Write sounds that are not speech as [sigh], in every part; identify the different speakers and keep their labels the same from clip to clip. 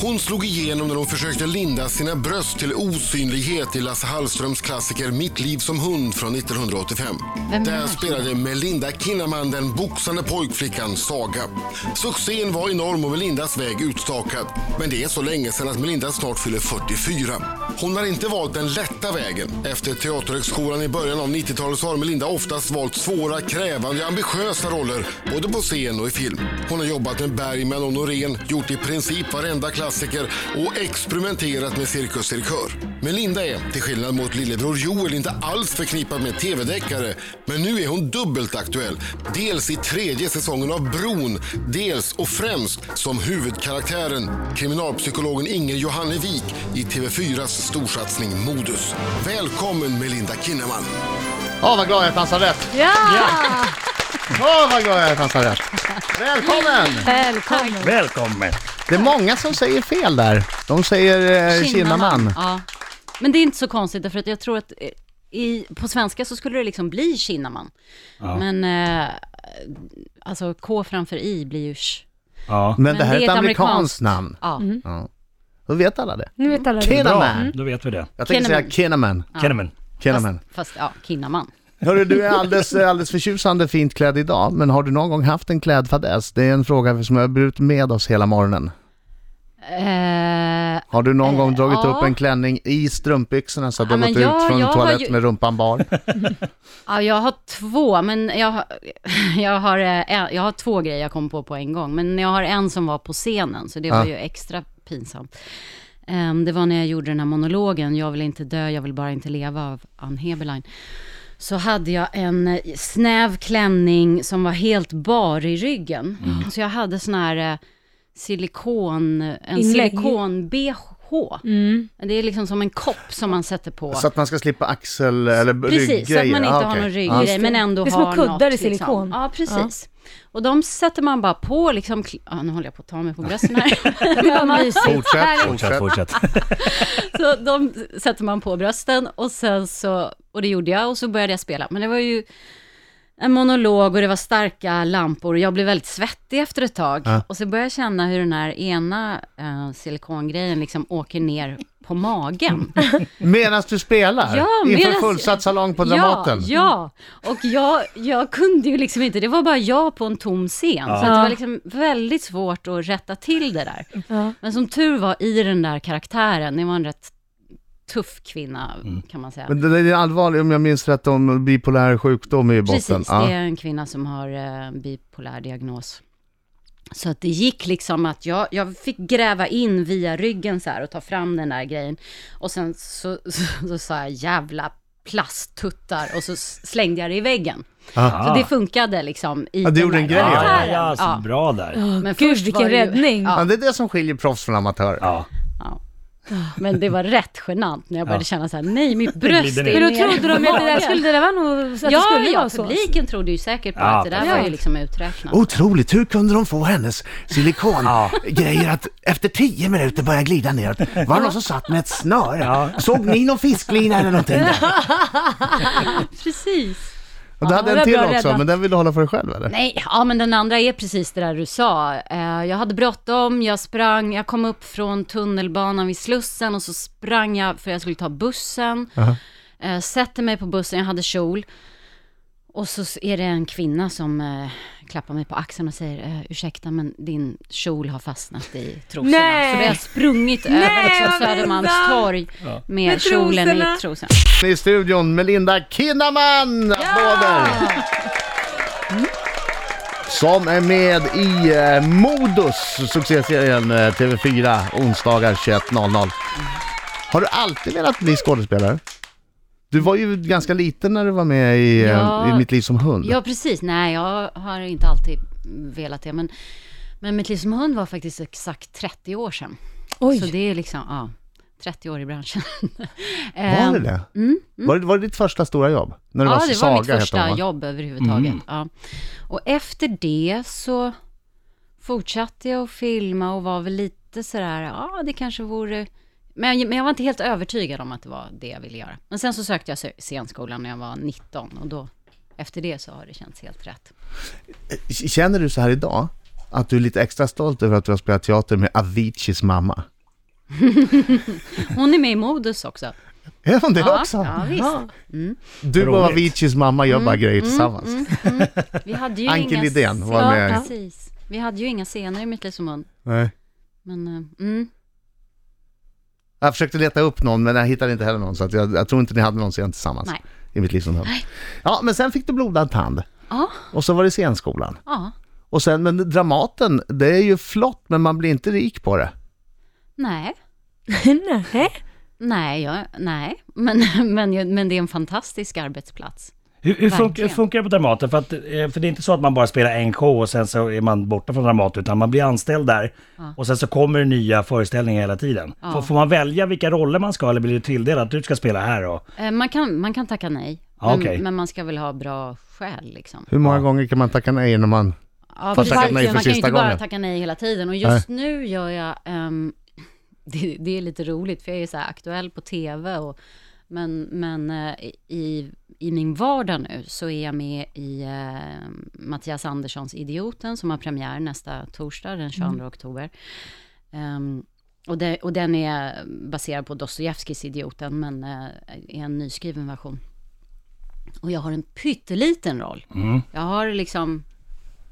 Speaker 1: Hon slog igenom när hon försökte linda sina bröst till osynlighet i Lasse Hallströms klassiker Mitt liv som hund från 1985.
Speaker 2: Vem är det
Speaker 1: Där
Speaker 2: här?
Speaker 1: spelade Melinda Kinnaman den boxande pojkflickan Saga. Succén var enorm och Melindas väg utstakad. Men det är så länge sedan att Melinda snart fyller 44. Hon har inte valt den lätta vägen. Efter Teaterhögskolan i början av 90-talet så har Melinda oftast valt svåra, krävande, ambitiösa roller både på scen och i film. Hon har jobbat med Bergman och Norén, gjort i princip varenda klassiker och experimenterat med cirkus cirkör. Melinda är, till skillnad mot lillebror Joel, inte alls förknippad med tv-deckare. Men nu är hon dubbelt aktuell. Dels i tredje säsongen av Bron, dels och främst som huvudkaraktären, kriminalpsykologen Inger Johannevik i TV4s storsatsning Modus. Välkommen Melinda Kinnaman!
Speaker 3: Åh, vad glad jag är att han sa rätt!
Speaker 2: Ja!
Speaker 3: Åh, vad glad jag är att han sa rätt! Välkommen!
Speaker 2: Välkommen.
Speaker 4: Välkommen!
Speaker 3: Det är många som säger fel där. De säger eh, Kinnaman.
Speaker 2: Ja. Men det är inte så konstigt, därför att jag tror att eh, i, på svenska så skulle det liksom bli Kinnaman. Men eh, alltså K framför I blir ju sh.
Speaker 4: Ja,
Speaker 3: Men det här är
Speaker 2: det
Speaker 3: ett amerikanskt namn.
Speaker 2: Ja.
Speaker 3: Ja. Då vet alla det.
Speaker 5: Nu vet alla det.
Speaker 4: bra,
Speaker 2: Mm.
Speaker 3: Kinnaman!
Speaker 4: då vet vi det.
Speaker 3: Jag tänkte säga
Speaker 2: Kinnaman.
Speaker 3: Kinnaman.
Speaker 4: Kinnaman.
Speaker 3: Kinnaman.
Speaker 2: Fast ja, Kinnaman.
Speaker 3: Hörru, du är alldeles, alldeles förtjusande fint klädd idag, men har du någon gång haft en klädfadäs? Det är en fråga som har burit med oss hela morgonen.
Speaker 2: Eh,
Speaker 3: Har du någon gång dragit
Speaker 2: ja.
Speaker 3: upp en klänning i strumpbyxorna så att du
Speaker 2: Ja,
Speaker 3: har
Speaker 2: men
Speaker 3: gått
Speaker 2: jag-
Speaker 3: ut från
Speaker 2: jag har
Speaker 3: toalett
Speaker 2: ju-
Speaker 3: med rumpan bar?
Speaker 2: ja, jag har två, men jag, har- [laughs] jag, har, eh, en- jag har två grejer jag kom på på en gång. Men jag har en som var på scenen, så det var
Speaker 3: Ja.
Speaker 2: ju extra pinsamt. Ehm, det var när jag gjorde den här monologen, Jag vill inte dö, jag vill bara inte leva av Ann Heberlein. Så hade jag en eh, snäv klänning som var helt bar i ryggen. Så jag hade sån här eh, silikon, en
Speaker 5: Inlägg.
Speaker 2: silikon-bh. Det är liksom som en kopp som man sätter på.
Speaker 3: Så att man ska slippa axel eller ryggrejer?
Speaker 2: Precis, så att man inte
Speaker 3: Ah,
Speaker 2: har
Speaker 3: okej.
Speaker 2: någon
Speaker 3: Ja.
Speaker 2: rygggrej, men ändå
Speaker 5: Det är små
Speaker 2: har
Speaker 5: kuddar i
Speaker 2: något,
Speaker 5: silikon.
Speaker 2: Liksom. Ja, precis. Och de sätter man bara på liksom, kl- ja, nu håller jag på att ta mig på brösten
Speaker 5: [laughs]
Speaker 2: här. [laughs] Det var mysigt.
Speaker 3: Fortsätt,
Speaker 4: Fortsätt,
Speaker 2: [laughs]
Speaker 3: fortsätt.
Speaker 4: fortsätt.
Speaker 2: Så de sätter man på brösten och sen så, och det gjorde jag och så började jag spela. Men det var ju en monolog och det var starka lampor och jag blev väldigt svettig efter ett tag.
Speaker 3: Ja.
Speaker 2: Och så började jag känna hur den här ena eh, silikongrejen liksom åker ner på
Speaker 3: [laughs]
Speaker 2: magen.
Speaker 3: Medan du spelar?
Speaker 2: Ja,
Speaker 3: Inför
Speaker 2: medans-
Speaker 3: fullsatt salong på Dramaten?
Speaker 2: Ja, ja. och jag, jag kunde ju liksom inte, det var bara jag på en tom scen. Så att det var liksom väldigt svårt att rätta till det där.
Speaker 5: Ja.
Speaker 2: Men som tur var i den där karaktären, det var en rätt tuff kvinna kan man säga.
Speaker 3: Mm. Men det det är allvarligt, om jag minns rätt, om bipolär sjukdom är i botten.
Speaker 2: Precis,
Speaker 3: Ja.
Speaker 2: det är en kvinna som har eh, bipolär diagnos. Så att det gick liksom att jag, jag fick gräva in via ryggen så här och ta fram den där grejen. Och sen så, så, så sa jag jävla plasttuttar och så s- slängde jag det i väggen. Så det funkade liksom i
Speaker 3: Ja, det
Speaker 2: den
Speaker 3: gjorde
Speaker 2: där
Speaker 3: en grej av det.
Speaker 4: Ah. Ja, alltså,
Speaker 2: karaktären.
Speaker 4: ja, så
Speaker 2: Ja.
Speaker 4: bra där.
Speaker 2: Men
Speaker 5: Gud,
Speaker 2: först
Speaker 5: vilken
Speaker 2: var det ju-
Speaker 5: räddning.
Speaker 3: Ja,
Speaker 2: Ja,
Speaker 3: det är det som skiljer proffs från amatörer.
Speaker 4: Ja.
Speaker 2: men det var rätt genant när jag började känna så här, nej mitt bröst
Speaker 4: [laughs] glider
Speaker 2: är
Speaker 4: ner.
Speaker 5: Men då
Speaker 2: ner
Speaker 5: trodde
Speaker 2: [laughs]
Speaker 5: de att det där skulle, det där var nog, att det
Speaker 2: Ja,
Speaker 5: skulle
Speaker 2: ja,
Speaker 5: vara så.
Speaker 2: publiken trodde ju säkert på
Speaker 4: Ja,
Speaker 2: att det där var
Speaker 5: perfekt.
Speaker 2: ju liksom uträknat.
Speaker 3: Otroligt, hur kunde de få hennes silikongrejer att efter tio minuter börja glida neråt? Var det någon som satt med ett snöre? Såg ni någon fisklina eller någonting?
Speaker 2: Precis.
Speaker 3: Du hade
Speaker 5: det
Speaker 3: en
Speaker 5: var
Speaker 3: till
Speaker 5: bra
Speaker 3: också,
Speaker 5: räddat.
Speaker 3: men den vill du hålla för dig själv
Speaker 5: [laughs]
Speaker 3: eller?
Speaker 2: Nej, ja men den andra är precis det där du sa. Eh, Jag hade bråttom, jag sprang, jag kom upp från tunnelbanan vid Slussen och så sprang jag för jag skulle ta bussen. Eh, Sätter mig på bussen, jag hade kjol. Och så är det en kvinna som eh, klappar mig på axeln och säger eh, ursäkta men din kjol har fastnat i trosorna.
Speaker 5: Nej.
Speaker 2: Så vi har sprungit över
Speaker 5: Nej,
Speaker 2: liksom,
Speaker 5: vad
Speaker 2: Södermalmstorg med,
Speaker 5: Med
Speaker 2: kjolen
Speaker 5: trosorna.
Speaker 2: i trosorna.
Speaker 3: I studion, Melinda Kinnaman! Applåder! Som är med i eh, Modus, succéserien eh, TV4, onsdagar 21.00. Har du alltid velat bli skådespelare? Du var ju ganska liten när du var med i, eh,
Speaker 2: Ja.
Speaker 3: i Mitt liv som hund.
Speaker 2: Ja, precis. Nej, jag har inte alltid velat det. Men, men mitt liv som hund var faktiskt exakt 30 år sedan. Så
Speaker 5: Oj,
Speaker 2: det är liksom, ja, 30 år i branschen. Ehm,
Speaker 3: Var det det? Var, det var det ditt första stora jobb? När
Speaker 2: Mm,
Speaker 3: du
Speaker 2: ja,
Speaker 3: var alltså
Speaker 2: det
Speaker 3: Saga
Speaker 2: var mitt
Speaker 3: hette
Speaker 2: första
Speaker 3: hon, va? Mm.
Speaker 2: jobb överhuvudtaget. Ja. Och efter det så fortsatte jag att filma och var väl lite sådär, ja det kanske vore... Men, men jag var inte helt övertygad om att det var det jag ville göra. Men sen så sökte jag sc- scenskolan när jag var 19 och då, efter det så har det känts helt rätt.
Speaker 3: Känner du så här idag? att du är lite extra stolt över att du har spelat teater med Aviciis mamma.
Speaker 2: Hon är med i Modus också.
Speaker 3: Är hon det
Speaker 2: Ja,
Speaker 3: också?
Speaker 2: ja, visst.
Speaker 3: Du och
Speaker 4: Roligt.
Speaker 3: Aviciis mamma gör
Speaker 2: Mm,
Speaker 3: bara grejer tillsammans.
Speaker 2: Vi hade ju
Speaker 3: Anke
Speaker 2: inga...
Speaker 3: Lidén var
Speaker 2: ja,
Speaker 3: med.
Speaker 2: precis. Vi hade ju inga scener i Mitt liv som hund.
Speaker 3: Nej.
Speaker 2: Men, eh, mm.
Speaker 3: Jag försökte leta upp någon men jag hittade inte heller någon så att jag, jag tror inte ni hade någon scen tillsammans.
Speaker 2: Nej.
Speaker 3: I mitt liv som hund. Ja, men sen fick du blodad tand.
Speaker 2: Ja,
Speaker 3: Och så var det scenskolan.
Speaker 2: ja.
Speaker 3: Och sen, men Dramaten, det är ju flott men man blir inte rik på det.
Speaker 2: Nej.
Speaker 5: [laughs] Nej.
Speaker 2: Nej, jag, nej. Men, [laughs] men, jag- men det är en fantastisk arbetsplats.
Speaker 4: Hur, hur funkar,
Speaker 2: Verkligen.
Speaker 4: funkar det på Dramaten? För, att, eh, för det är inte så att man bara spelar en show och sen så är man borta från Dramaten, utan man blir anställd där. Och sen så kommer det nya föreställningar hela tiden. Får, får man välja vilka roller man ska eller blir det tilldelat? Du ska spela här och...
Speaker 2: Eh, Man kan, man kan tacka nej.
Speaker 4: Ja,
Speaker 2: Men,
Speaker 4: okej.
Speaker 2: men man ska väl ha bra skäl liksom.
Speaker 3: Hur många gånger kan man tacka nej när man...
Speaker 2: Ja,
Speaker 3: Fast
Speaker 2: precis.
Speaker 5: tacka nej för
Speaker 2: man kan ju
Speaker 3: sista
Speaker 2: inte bara
Speaker 3: gången.
Speaker 2: tacka nej hela tiden. Och just nu gör jag, ehm, [laughs] det, det är lite roligt för jag är så här aktuell på tv och, men, men eh, i, i min vardag nu så är jag med i eh, Mattias Anderssons Idioten som har premiär nästa torsdag den 22 oktober. Ehm, och, det, och den är baserad på Dostojevskijs Idioten men eh, är en nyskriven version. Och jag har en pytteliten roll.
Speaker 3: Mm.
Speaker 2: Jag har liksom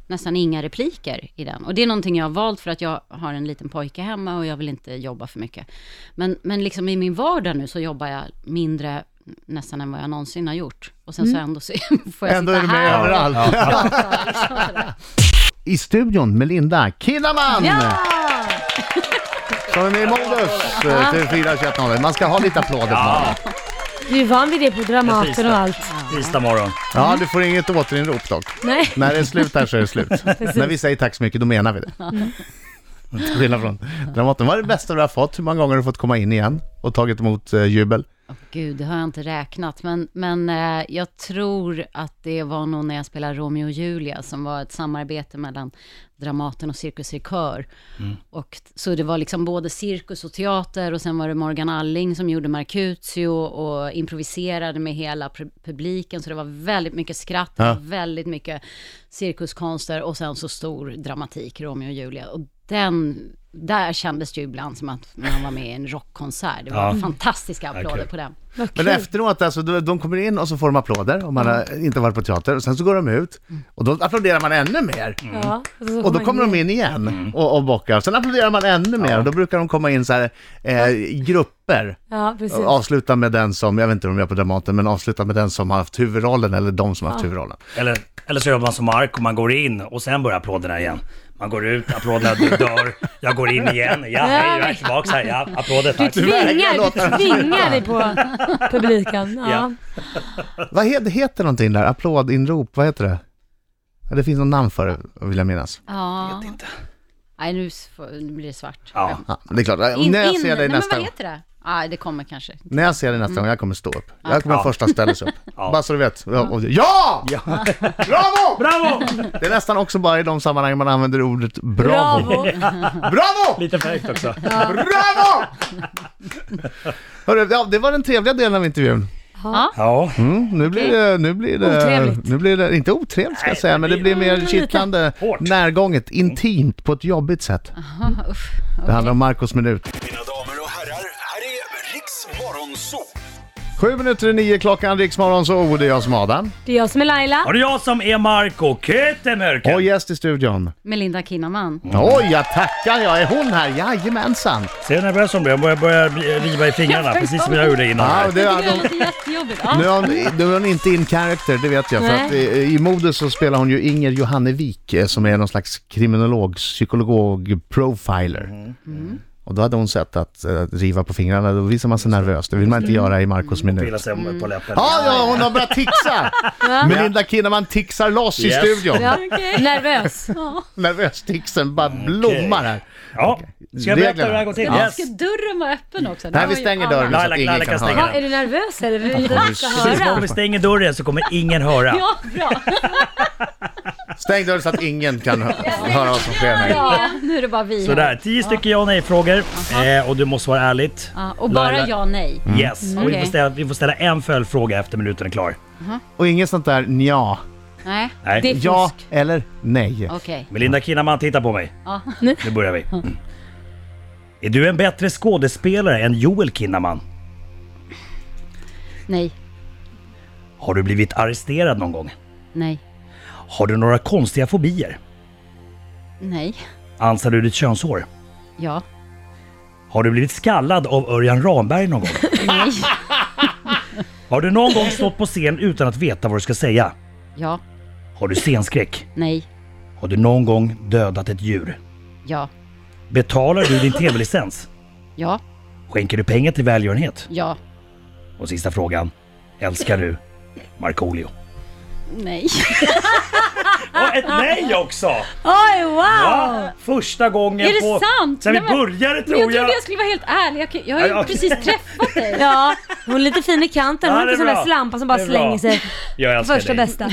Speaker 2: nästan inga repliker i den. Och det är någonting jag har valt för att jag har en liten pojke hemma och jag vill inte jobba för mycket. Men, men liksom i min vardag nu så jobbar jag mindre nästan än vad jag någonsin har gjort. Och sen så ändå så [laughs] får jag
Speaker 3: Ändå är
Speaker 2: sitta
Speaker 3: du med
Speaker 2: här.
Speaker 3: överallt.
Speaker 2: Ja, liksom [laughs] sådär.
Speaker 3: I studion med Linda Kinnaman! Som är med i Modus, eh, TV4 2100. Man ska ha lite applåder på honom.
Speaker 5: Du är van vid det på
Speaker 4: Precis
Speaker 5: Dramaten
Speaker 4: det.
Speaker 5: och allt.
Speaker 4: Tisdag morgon.
Speaker 3: Ja, du får inget återinrop dock.
Speaker 5: Nej.
Speaker 3: När det är slut här så är det
Speaker 5: [laughs]
Speaker 3: slut. När vi säger tack så mycket, då menar vi det. [laughs] Till skillnad från Dramaten. Vad är det bästa du har fått? Hur många gånger har du fått komma in igen och tagit emot eh, jubel?
Speaker 2: Åh, Gud, det har jag inte räknat. Men, men eh, jag tror att det var nog när jag spelade Romeo och Julia, som var ett samarbete mellan Dramaten och Cirkus Cirkör. Och, så det var liksom både cirkus och teater och sen var det Morgan Alling som gjorde Mercutio och improviserade med hela pu- publiken. Så det var väldigt mycket skratt, det var väldigt mycket cirkuskonster och sen så stor dramatik, Romeo och Julia. Och den, där kändes det ju ibland som att man var med i en rockkonsert. Det var
Speaker 4: Ja.
Speaker 2: fantastiska applåder
Speaker 4: kul.
Speaker 2: på den.
Speaker 5: Vad
Speaker 3: Men
Speaker 5: kul.
Speaker 3: efteråt, alltså, de de kommer in och så får de applåder om man har inte varit på teater. Och sen så går de ut och då applåderar man ännu mer.
Speaker 5: Mm. Ja, Mm.
Speaker 3: Och då kommer de in igen och, och bockar. Sen applåderar man ännu mer och då brukar de komma in så här eh, i grupper.
Speaker 5: Ja, precis.
Speaker 3: Och avsluta med den som, jag vet inte om de gör på Dramaten, men avsluta med den som har haft huvudrollen eller de som har haft huvudrollen.
Speaker 4: Eller, eller så gör man som Mark och man går in och sen börjar applåderna igen. Man går ut, applåderna dör, jag går in igen, ja, hej, jag är tillbaka här, ja, applåder, tack.
Speaker 5: Tvingar, du tvingar dig på publiken. Ja.
Speaker 3: Vad heter, heter någonting där? Applådinrop, vad heter det? Ja, det finns något namn för det, vill jag minnas.
Speaker 2: Ja. Jag vet inte. Nej, nu, s- får- nu blir det svart.
Speaker 4: Ja.
Speaker 3: Ja, men det är klart,
Speaker 2: In-
Speaker 3: när jag
Speaker 2: in-
Speaker 3: ser dig
Speaker 2: nej,
Speaker 3: nästa
Speaker 2: men
Speaker 3: gång.
Speaker 2: vad heter det? Nej, det kommer kanske.
Speaker 3: När jag ser dig nästa gång, jag kommer stå upp. Jag kommer
Speaker 4: Ja.
Speaker 3: första ställas upp.
Speaker 4: Ja.
Speaker 3: Bara så du vet. Ja! och- ja! [laughs] Bravo!
Speaker 4: Bravo!
Speaker 3: Det är nästan också bara i de sammanhang man använder ordet bravo.
Speaker 5: Bravo.
Speaker 3: Bravo!
Speaker 4: Lite fräckt också.
Speaker 3: Bravo! Hörru, ja, det var den trevliga delen av intervjun.
Speaker 4: Ja.
Speaker 3: Mm, nu, blir det, nu blir det...
Speaker 5: Otrevligt.
Speaker 3: Nu blir det, inte otrevligt ska jag säga, men det blir mer kittlande,
Speaker 4: Hårt.
Speaker 3: närgånget, intimt på ett jobbigt sätt. Det handlar om Marcos minut.
Speaker 6: Mina damer och herrar, här är Riks Morgonzoo!
Speaker 3: Sju minuter i nio klockan, Riksmorgon, så oh, det är jag som är Adam.
Speaker 5: Det är jag som är Laila.
Speaker 4: Och det är jag som är Marco Kötemörken.
Speaker 3: Och gäst i studion.
Speaker 2: Melinda Kinnaman.
Speaker 3: Oj, jag tackar jag. Är hon här? Jajamensan.
Speaker 4: Ser du hur nervös hon blir? Hon börjar, börjar riva i fingrarna, precis som jag gjorde innan.
Speaker 3: Ja,
Speaker 4: här.
Speaker 3: det
Speaker 2: Det
Speaker 3: är,
Speaker 2: låter jättejobbigt.
Speaker 3: nu,
Speaker 2: Ja.
Speaker 3: är hon, nu är hon inte in character, det vet jag. För
Speaker 5: Nej.
Speaker 3: att i, I Modus så spelar hon ju Inger Johannevik eh, som är någon slags kriminolog, psykolog, profiler. Mm. Och då hade hon sett att eh, riva på fingrarna, då visar man sig nervös. Det Mm. vill man inte göra i Marcos minut.
Speaker 4: Pilla sig på läppen.
Speaker 3: Ja, ja, hon har börjat tixa! Melinda Kinnaman tixar loss i
Speaker 4: Yes.
Speaker 3: studion.
Speaker 5: Ja. Nervös.
Speaker 3: Nervöstixen bara blommar här.
Speaker 4: Ja. Ska jag berätta hur det här går till?
Speaker 3: Reglerna.
Speaker 4: Yes.
Speaker 2: Ska dörren vara öppen också? Det
Speaker 3: Nej,
Speaker 2: har
Speaker 3: vi
Speaker 2: ju
Speaker 3: stänger
Speaker 2: alla.
Speaker 3: dörren så
Speaker 4: Laila-
Speaker 3: att ingen
Speaker 4: Laila
Speaker 3: kan
Speaker 4: kan
Speaker 3: höra.
Speaker 4: stänga
Speaker 5: Ja, är du nervös eller? Vill du inte ska
Speaker 4: Precis,
Speaker 5: höra?
Speaker 4: om vi stänger dörren så kommer ingen höra.
Speaker 2: Ja, bra.
Speaker 3: Stäng dörren så att ingen kan hö- höra vad som sker här.
Speaker 2: Ja, nu är det bara vi här.
Speaker 4: Sådär, tio stycken ja och nej-frågor. Eh, och du måste svara ärligt.
Speaker 2: Ja, och bara
Speaker 4: Laila-
Speaker 2: ja, nej.
Speaker 4: Yes, och vi,
Speaker 2: Mm. Okej.
Speaker 4: får ställa, vi får ställa en följdfråga efter minuten är klar.
Speaker 3: Och inget sånt där nja.
Speaker 2: Nej,
Speaker 4: Nej.
Speaker 5: Det är fusk.
Speaker 3: Ja eller nej?
Speaker 2: okej.
Speaker 4: Melinda Kinnaman, titta på mig.
Speaker 2: Ja.
Speaker 4: Nu börjar vi.
Speaker 2: Mm.
Speaker 4: Mm. Är du en bättre skådespelare än Joel Kinnaman?
Speaker 2: Nej,
Speaker 4: Har du blivit arresterad någon gång?
Speaker 2: nej,
Speaker 4: Har du några konstiga fobier?
Speaker 2: nej,
Speaker 4: Ansar du ditt könshår?
Speaker 2: ja,
Speaker 4: Har du blivit skallad av Örjan Ramberg någon gång?
Speaker 2: [laughs] nej,
Speaker 4: Har du någon gång stått på scen utan att veta vad du ska säga?
Speaker 2: ja,
Speaker 4: Har du scenskräck?
Speaker 2: nej,
Speaker 4: Har du någon gång dödat ett djur?
Speaker 2: ja,
Speaker 4: Betalar du din tv-licens?
Speaker 2: ja,
Speaker 4: Skänker du pengar till välgörenhet?
Speaker 2: ja,
Speaker 4: Och sista frågan. Älskar du Markoolio?
Speaker 2: nej. Ah,
Speaker 4: Och ett nej också!
Speaker 5: Oj, wow!
Speaker 4: Ja, första gången
Speaker 2: Är det
Speaker 4: på...
Speaker 2: sant?
Speaker 4: Sen vi
Speaker 2: Nej, men-
Speaker 4: började
Speaker 2: Men jag
Speaker 4: tror jag!
Speaker 2: trodde jag skulle vara helt ärlig. Jag, kan- jag har
Speaker 4: Ja, ja.
Speaker 2: ju precis träffat dig.
Speaker 5: [laughs] Ja, hon är lite fin i kanten. Hon
Speaker 4: Ja,
Speaker 5: har
Speaker 4: det är
Speaker 5: inte sån där
Speaker 4: bra.
Speaker 5: slampa som bara
Speaker 4: Det är bra.
Speaker 5: slänger sig.
Speaker 4: Jag älskar
Speaker 5: Första
Speaker 4: dig.
Speaker 5: bästa.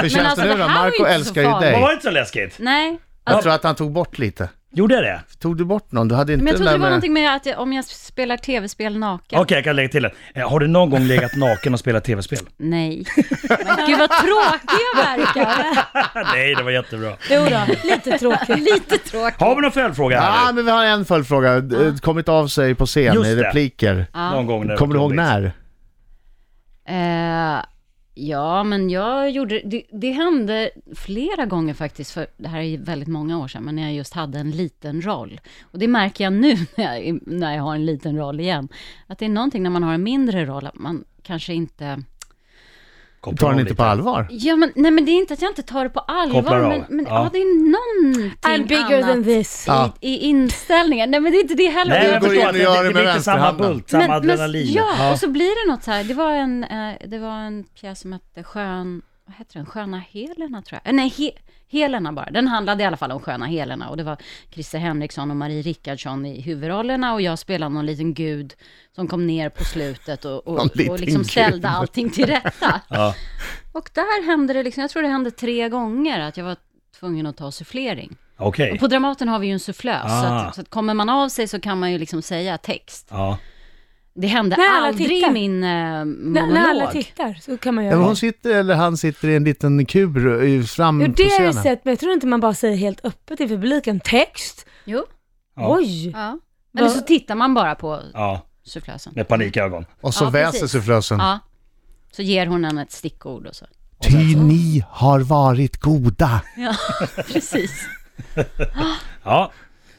Speaker 3: Hur känns
Speaker 2: alltså,
Speaker 3: det nu
Speaker 2: det
Speaker 3: då?
Speaker 2: här var ju
Speaker 3: Marco
Speaker 2: inte så
Speaker 3: älskar ju
Speaker 2: farligt.
Speaker 4: Det
Speaker 3: dig.
Speaker 4: var inte så läskigt.
Speaker 2: Nej,
Speaker 3: Jag tror att han tog bort lite.
Speaker 4: Gjorde jag det?
Speaker 3: Tog du bort någon? Du hade inte
Speaker 2: men jag trodde det
Speaker 3: den
Speaker 2: var
Speaker 3: där med-
Speaker 2: någonting med att jag, om jag spelar tv-spel naken.
Speaker 4: Okej, jag kan lägga till det. Eh, Har du någon gång legat naken och spelat tv-spel?
Speaker 2: Nej. Men gud vad
Speaker 5: [laughs]
Speaker 2: tråkiga verkar.
Speaker 4: Nej, det var jättebra.
Speaker 5: Jo då, lite tråkigt.
Speaker 2: Lite tråkigt.
Speaker 4: Har vi någon följdfråga
Speaker 3: Ja,
Speaker 4: här? nu?
Speaker 3: men vi har en följdfråga. Eh, Kommit av sig på scen
Speaker 4: Just
Speaker 3: i
Speaker 4: det.
Speaker 3: repliker.
Speaker 2: Ah.
Speaker 4: Någon gång när det
Speaker 3: Kommer du
Speaker 4: var
Speaker 3: ihåg
Speaker 4: jobbigt.
Speaker 3: när?
Speaker 2: Eh, ja, men jag gjorde... Det, det hände flera gånger faktiskt, för det här är ju väldigt många år sedan, men när jag just hade en liten roll. Och det märker jag nu [laughs] när jag, när jag har en liten roll igen. Att det är någonting när man har en mindre roll, att man kanske inte...
Speaker 4: Kopplar
Speaker 3: Tar
Speaker 4: av
Speaker 3: den inte
Speaker 4: lite.
Speaker 3: på allvar?
Speaker 2: Ja, men, nej, men det är inte att jag inte tar det på
Speaker 4: Kopplar
Speaker 2: allvar,
Speaker 4: av.
Speaker 2: men, men
Speaker 4: Ja.
Speaker 2: ja. det är någonting
Speaker 5: I'm bigger
Speaker 2: annat
Speaker 5: than this.
Speaker 3: Ja.
Speaker 2: i, i inställningen. Nej, men det är inte det heller.
Speaker 4: Nej,
Speaker 3: Du
Speaker 4: jag
Speaker 3: går in
Speaker 4: förstår
Speaker 3: och
Speaker 4: att det,
Speaker 3: gör det
Speaker 4: det, det
Speaker 3: med
Speaker 4: blir inte samma
Speaker 3: vänsterhanden.
Speaker 4: bult, samma adrenalin.
Speaker 2: ja, och så blir det något så här. Det var en, eh, det var en pjäs som hette Skön, vad heter den? Sköna Helena tror jag. Eh, Nej, He, Helena bara. Den handlade i alla fall om Sköna Helena och det var Christer Henriksson och Marie Rickardsson i huvudrollerna och jag spelade någon liten gud som kom ner på slutet och, och,
Speaker 3: [laughs] Någon liten
Speaker 2: och liksom ställde
Speaker 3: gud.
Speaker 2: allting till
Speaker 3: [laughs]
Speaker 2: rätta.
Speaker 4: Ja.
Speaker 2: Och där hände det liksom, jag tror det hände tre gånger att jag var tvungen att ta sufflering.
Speaker 4: Okej.
Speaker 3: Eh.
Speaker 2: Och på Dramaten har vi ju en sufflös, så,
Speaker 4: Ah.
Speaker 2: att, så att kommer man av sig så kan man ju liksom säga text.
Speaker 4: Ja.
Speaker 2: Det hände
Speaker 5: När alla
Speaker 2: aldrig i
Speaker 5: tittar.
Speaker 2: min eh,
Speaker 5: När,
Speaker 2: monolog.
Speaker 5: när alla tittar så kan man
Speaker 3: Ja,
Speaker 5: göra
Speaker 3: men
Speaker 5: det.
Speaker 3: hon sitter, eller han sitter i en liten kur i- fram
Speaker 5: Jo,
Speaker 3: på
Speaker 5: det har jag ju
Speaker 3: scenen.
Speaker 5: sett, men jag tror inte man bara säger helt öppet i publiken. Text?
Speaker 2: Jo.
Speaker 4: Ja.
Speaker 5: Oj!
Speaker 2: Ja. Eller så tittar man bara på
Speaker 4: ja,
Speaker 2: sufflösen.
Speaker 4: med panikögon.
Speaker 3: Och så
Speaker 2: Ja,
Speaker 3: väser
Speaker 2: precis.
Speaker 3: sufflösen.
Speaker 2: Ja. Så ger hon henne ett stickord och så.
Speaker 3: Ty ni har varit goda.
Speaker 5: [laughs]
Speaker 2: Ja, precis.
Speaker 4: Ja.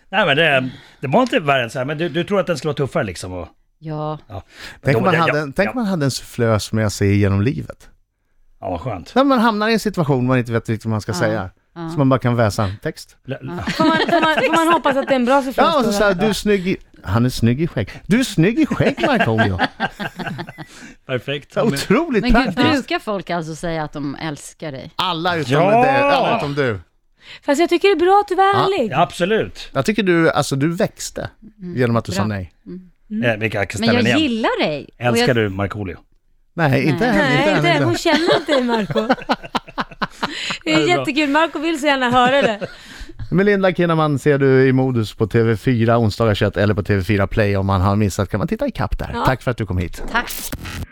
Speaker 4: Nej men det, det var inte värre än så här, men du, du tror att den skulle vara tuffare liksom? Och,
Speaker 2: Ja,
Speaker 4: ja.
Speaker 3: Tänk om man
Speaker 4: Ja,
Speaker 3: hade, en- tänk
Speaker 4: ja,
Speaker 3: om man hade en sufflös med att se genom livet.
Speaker 4: ja, vad skönt.
Speaker 3: När man hamnar i en situation man inte vet riktigt vad man ska säga. Så man bara kan väsa en text.
Speaker 4: L- l-
Speaker 5: Får man, får, [laughs] man, får man hoppas att det är en bra sufflös
Speaker 3: Ja, och så
Speaker 5: då,
Speaker 3: såhär,
Speaker 5: eller?
Speaker 3: du är snygg i... Han är snygg i skägg. Du är snygg i skägg, Markoolio.
Speaker 4: Perfekt.
Speaker 3: Så Otroligt
Speaker 2: men gud,
Speaker 3: praktiskt.
Speaker 2: brukar folk alltså säga att de älskar dig?
Speaker 3: Alla utom,
Speaker 4: Ja!
Speaker 3: det, alla utom du.
Speaker 5: Fast jag tycker det är bra att du är
Speaker 3: Ja.
Speaker 5: ärlig.
Speaker 4: Ja, absolut.
Speaker 3: Jag tycker du, alltså du växte genom att du sa
Speaker 2: Bra.
Speaker 3: nej.
Speaker 4: Eh, vi kan
Speaker 2: Mm. Men
Speaker 4: ställa
Speaker 2: jag
Speaker 4: den igen.
Speaker 2: gillar dig. Och jag-
Speaker 4: Älskar du Markoolio?
Speaker 3: Nej, inte än. Inte
Speaker 5: Nej,
Speaker 3: än,
Speaker 5: inte
Speaker 3: inte
Speaker 5: än.
Speaker 3: än.
Speaker 5: Hon känner inte dig Marco. Det
Speaker 4: Ja, det är
Speaker 5: är
Speaker 4: bra.
Speaker 5: jättekul. Marco vill så gärna höra det.
Speaker 3: Melinda Kinnaman ser du i Modus på TV4 onsdagar 21 eller på TV4 Play. Om man har missat kan man titta i kapp där. Tack för att du kom hit.
Speaker 2: Tack.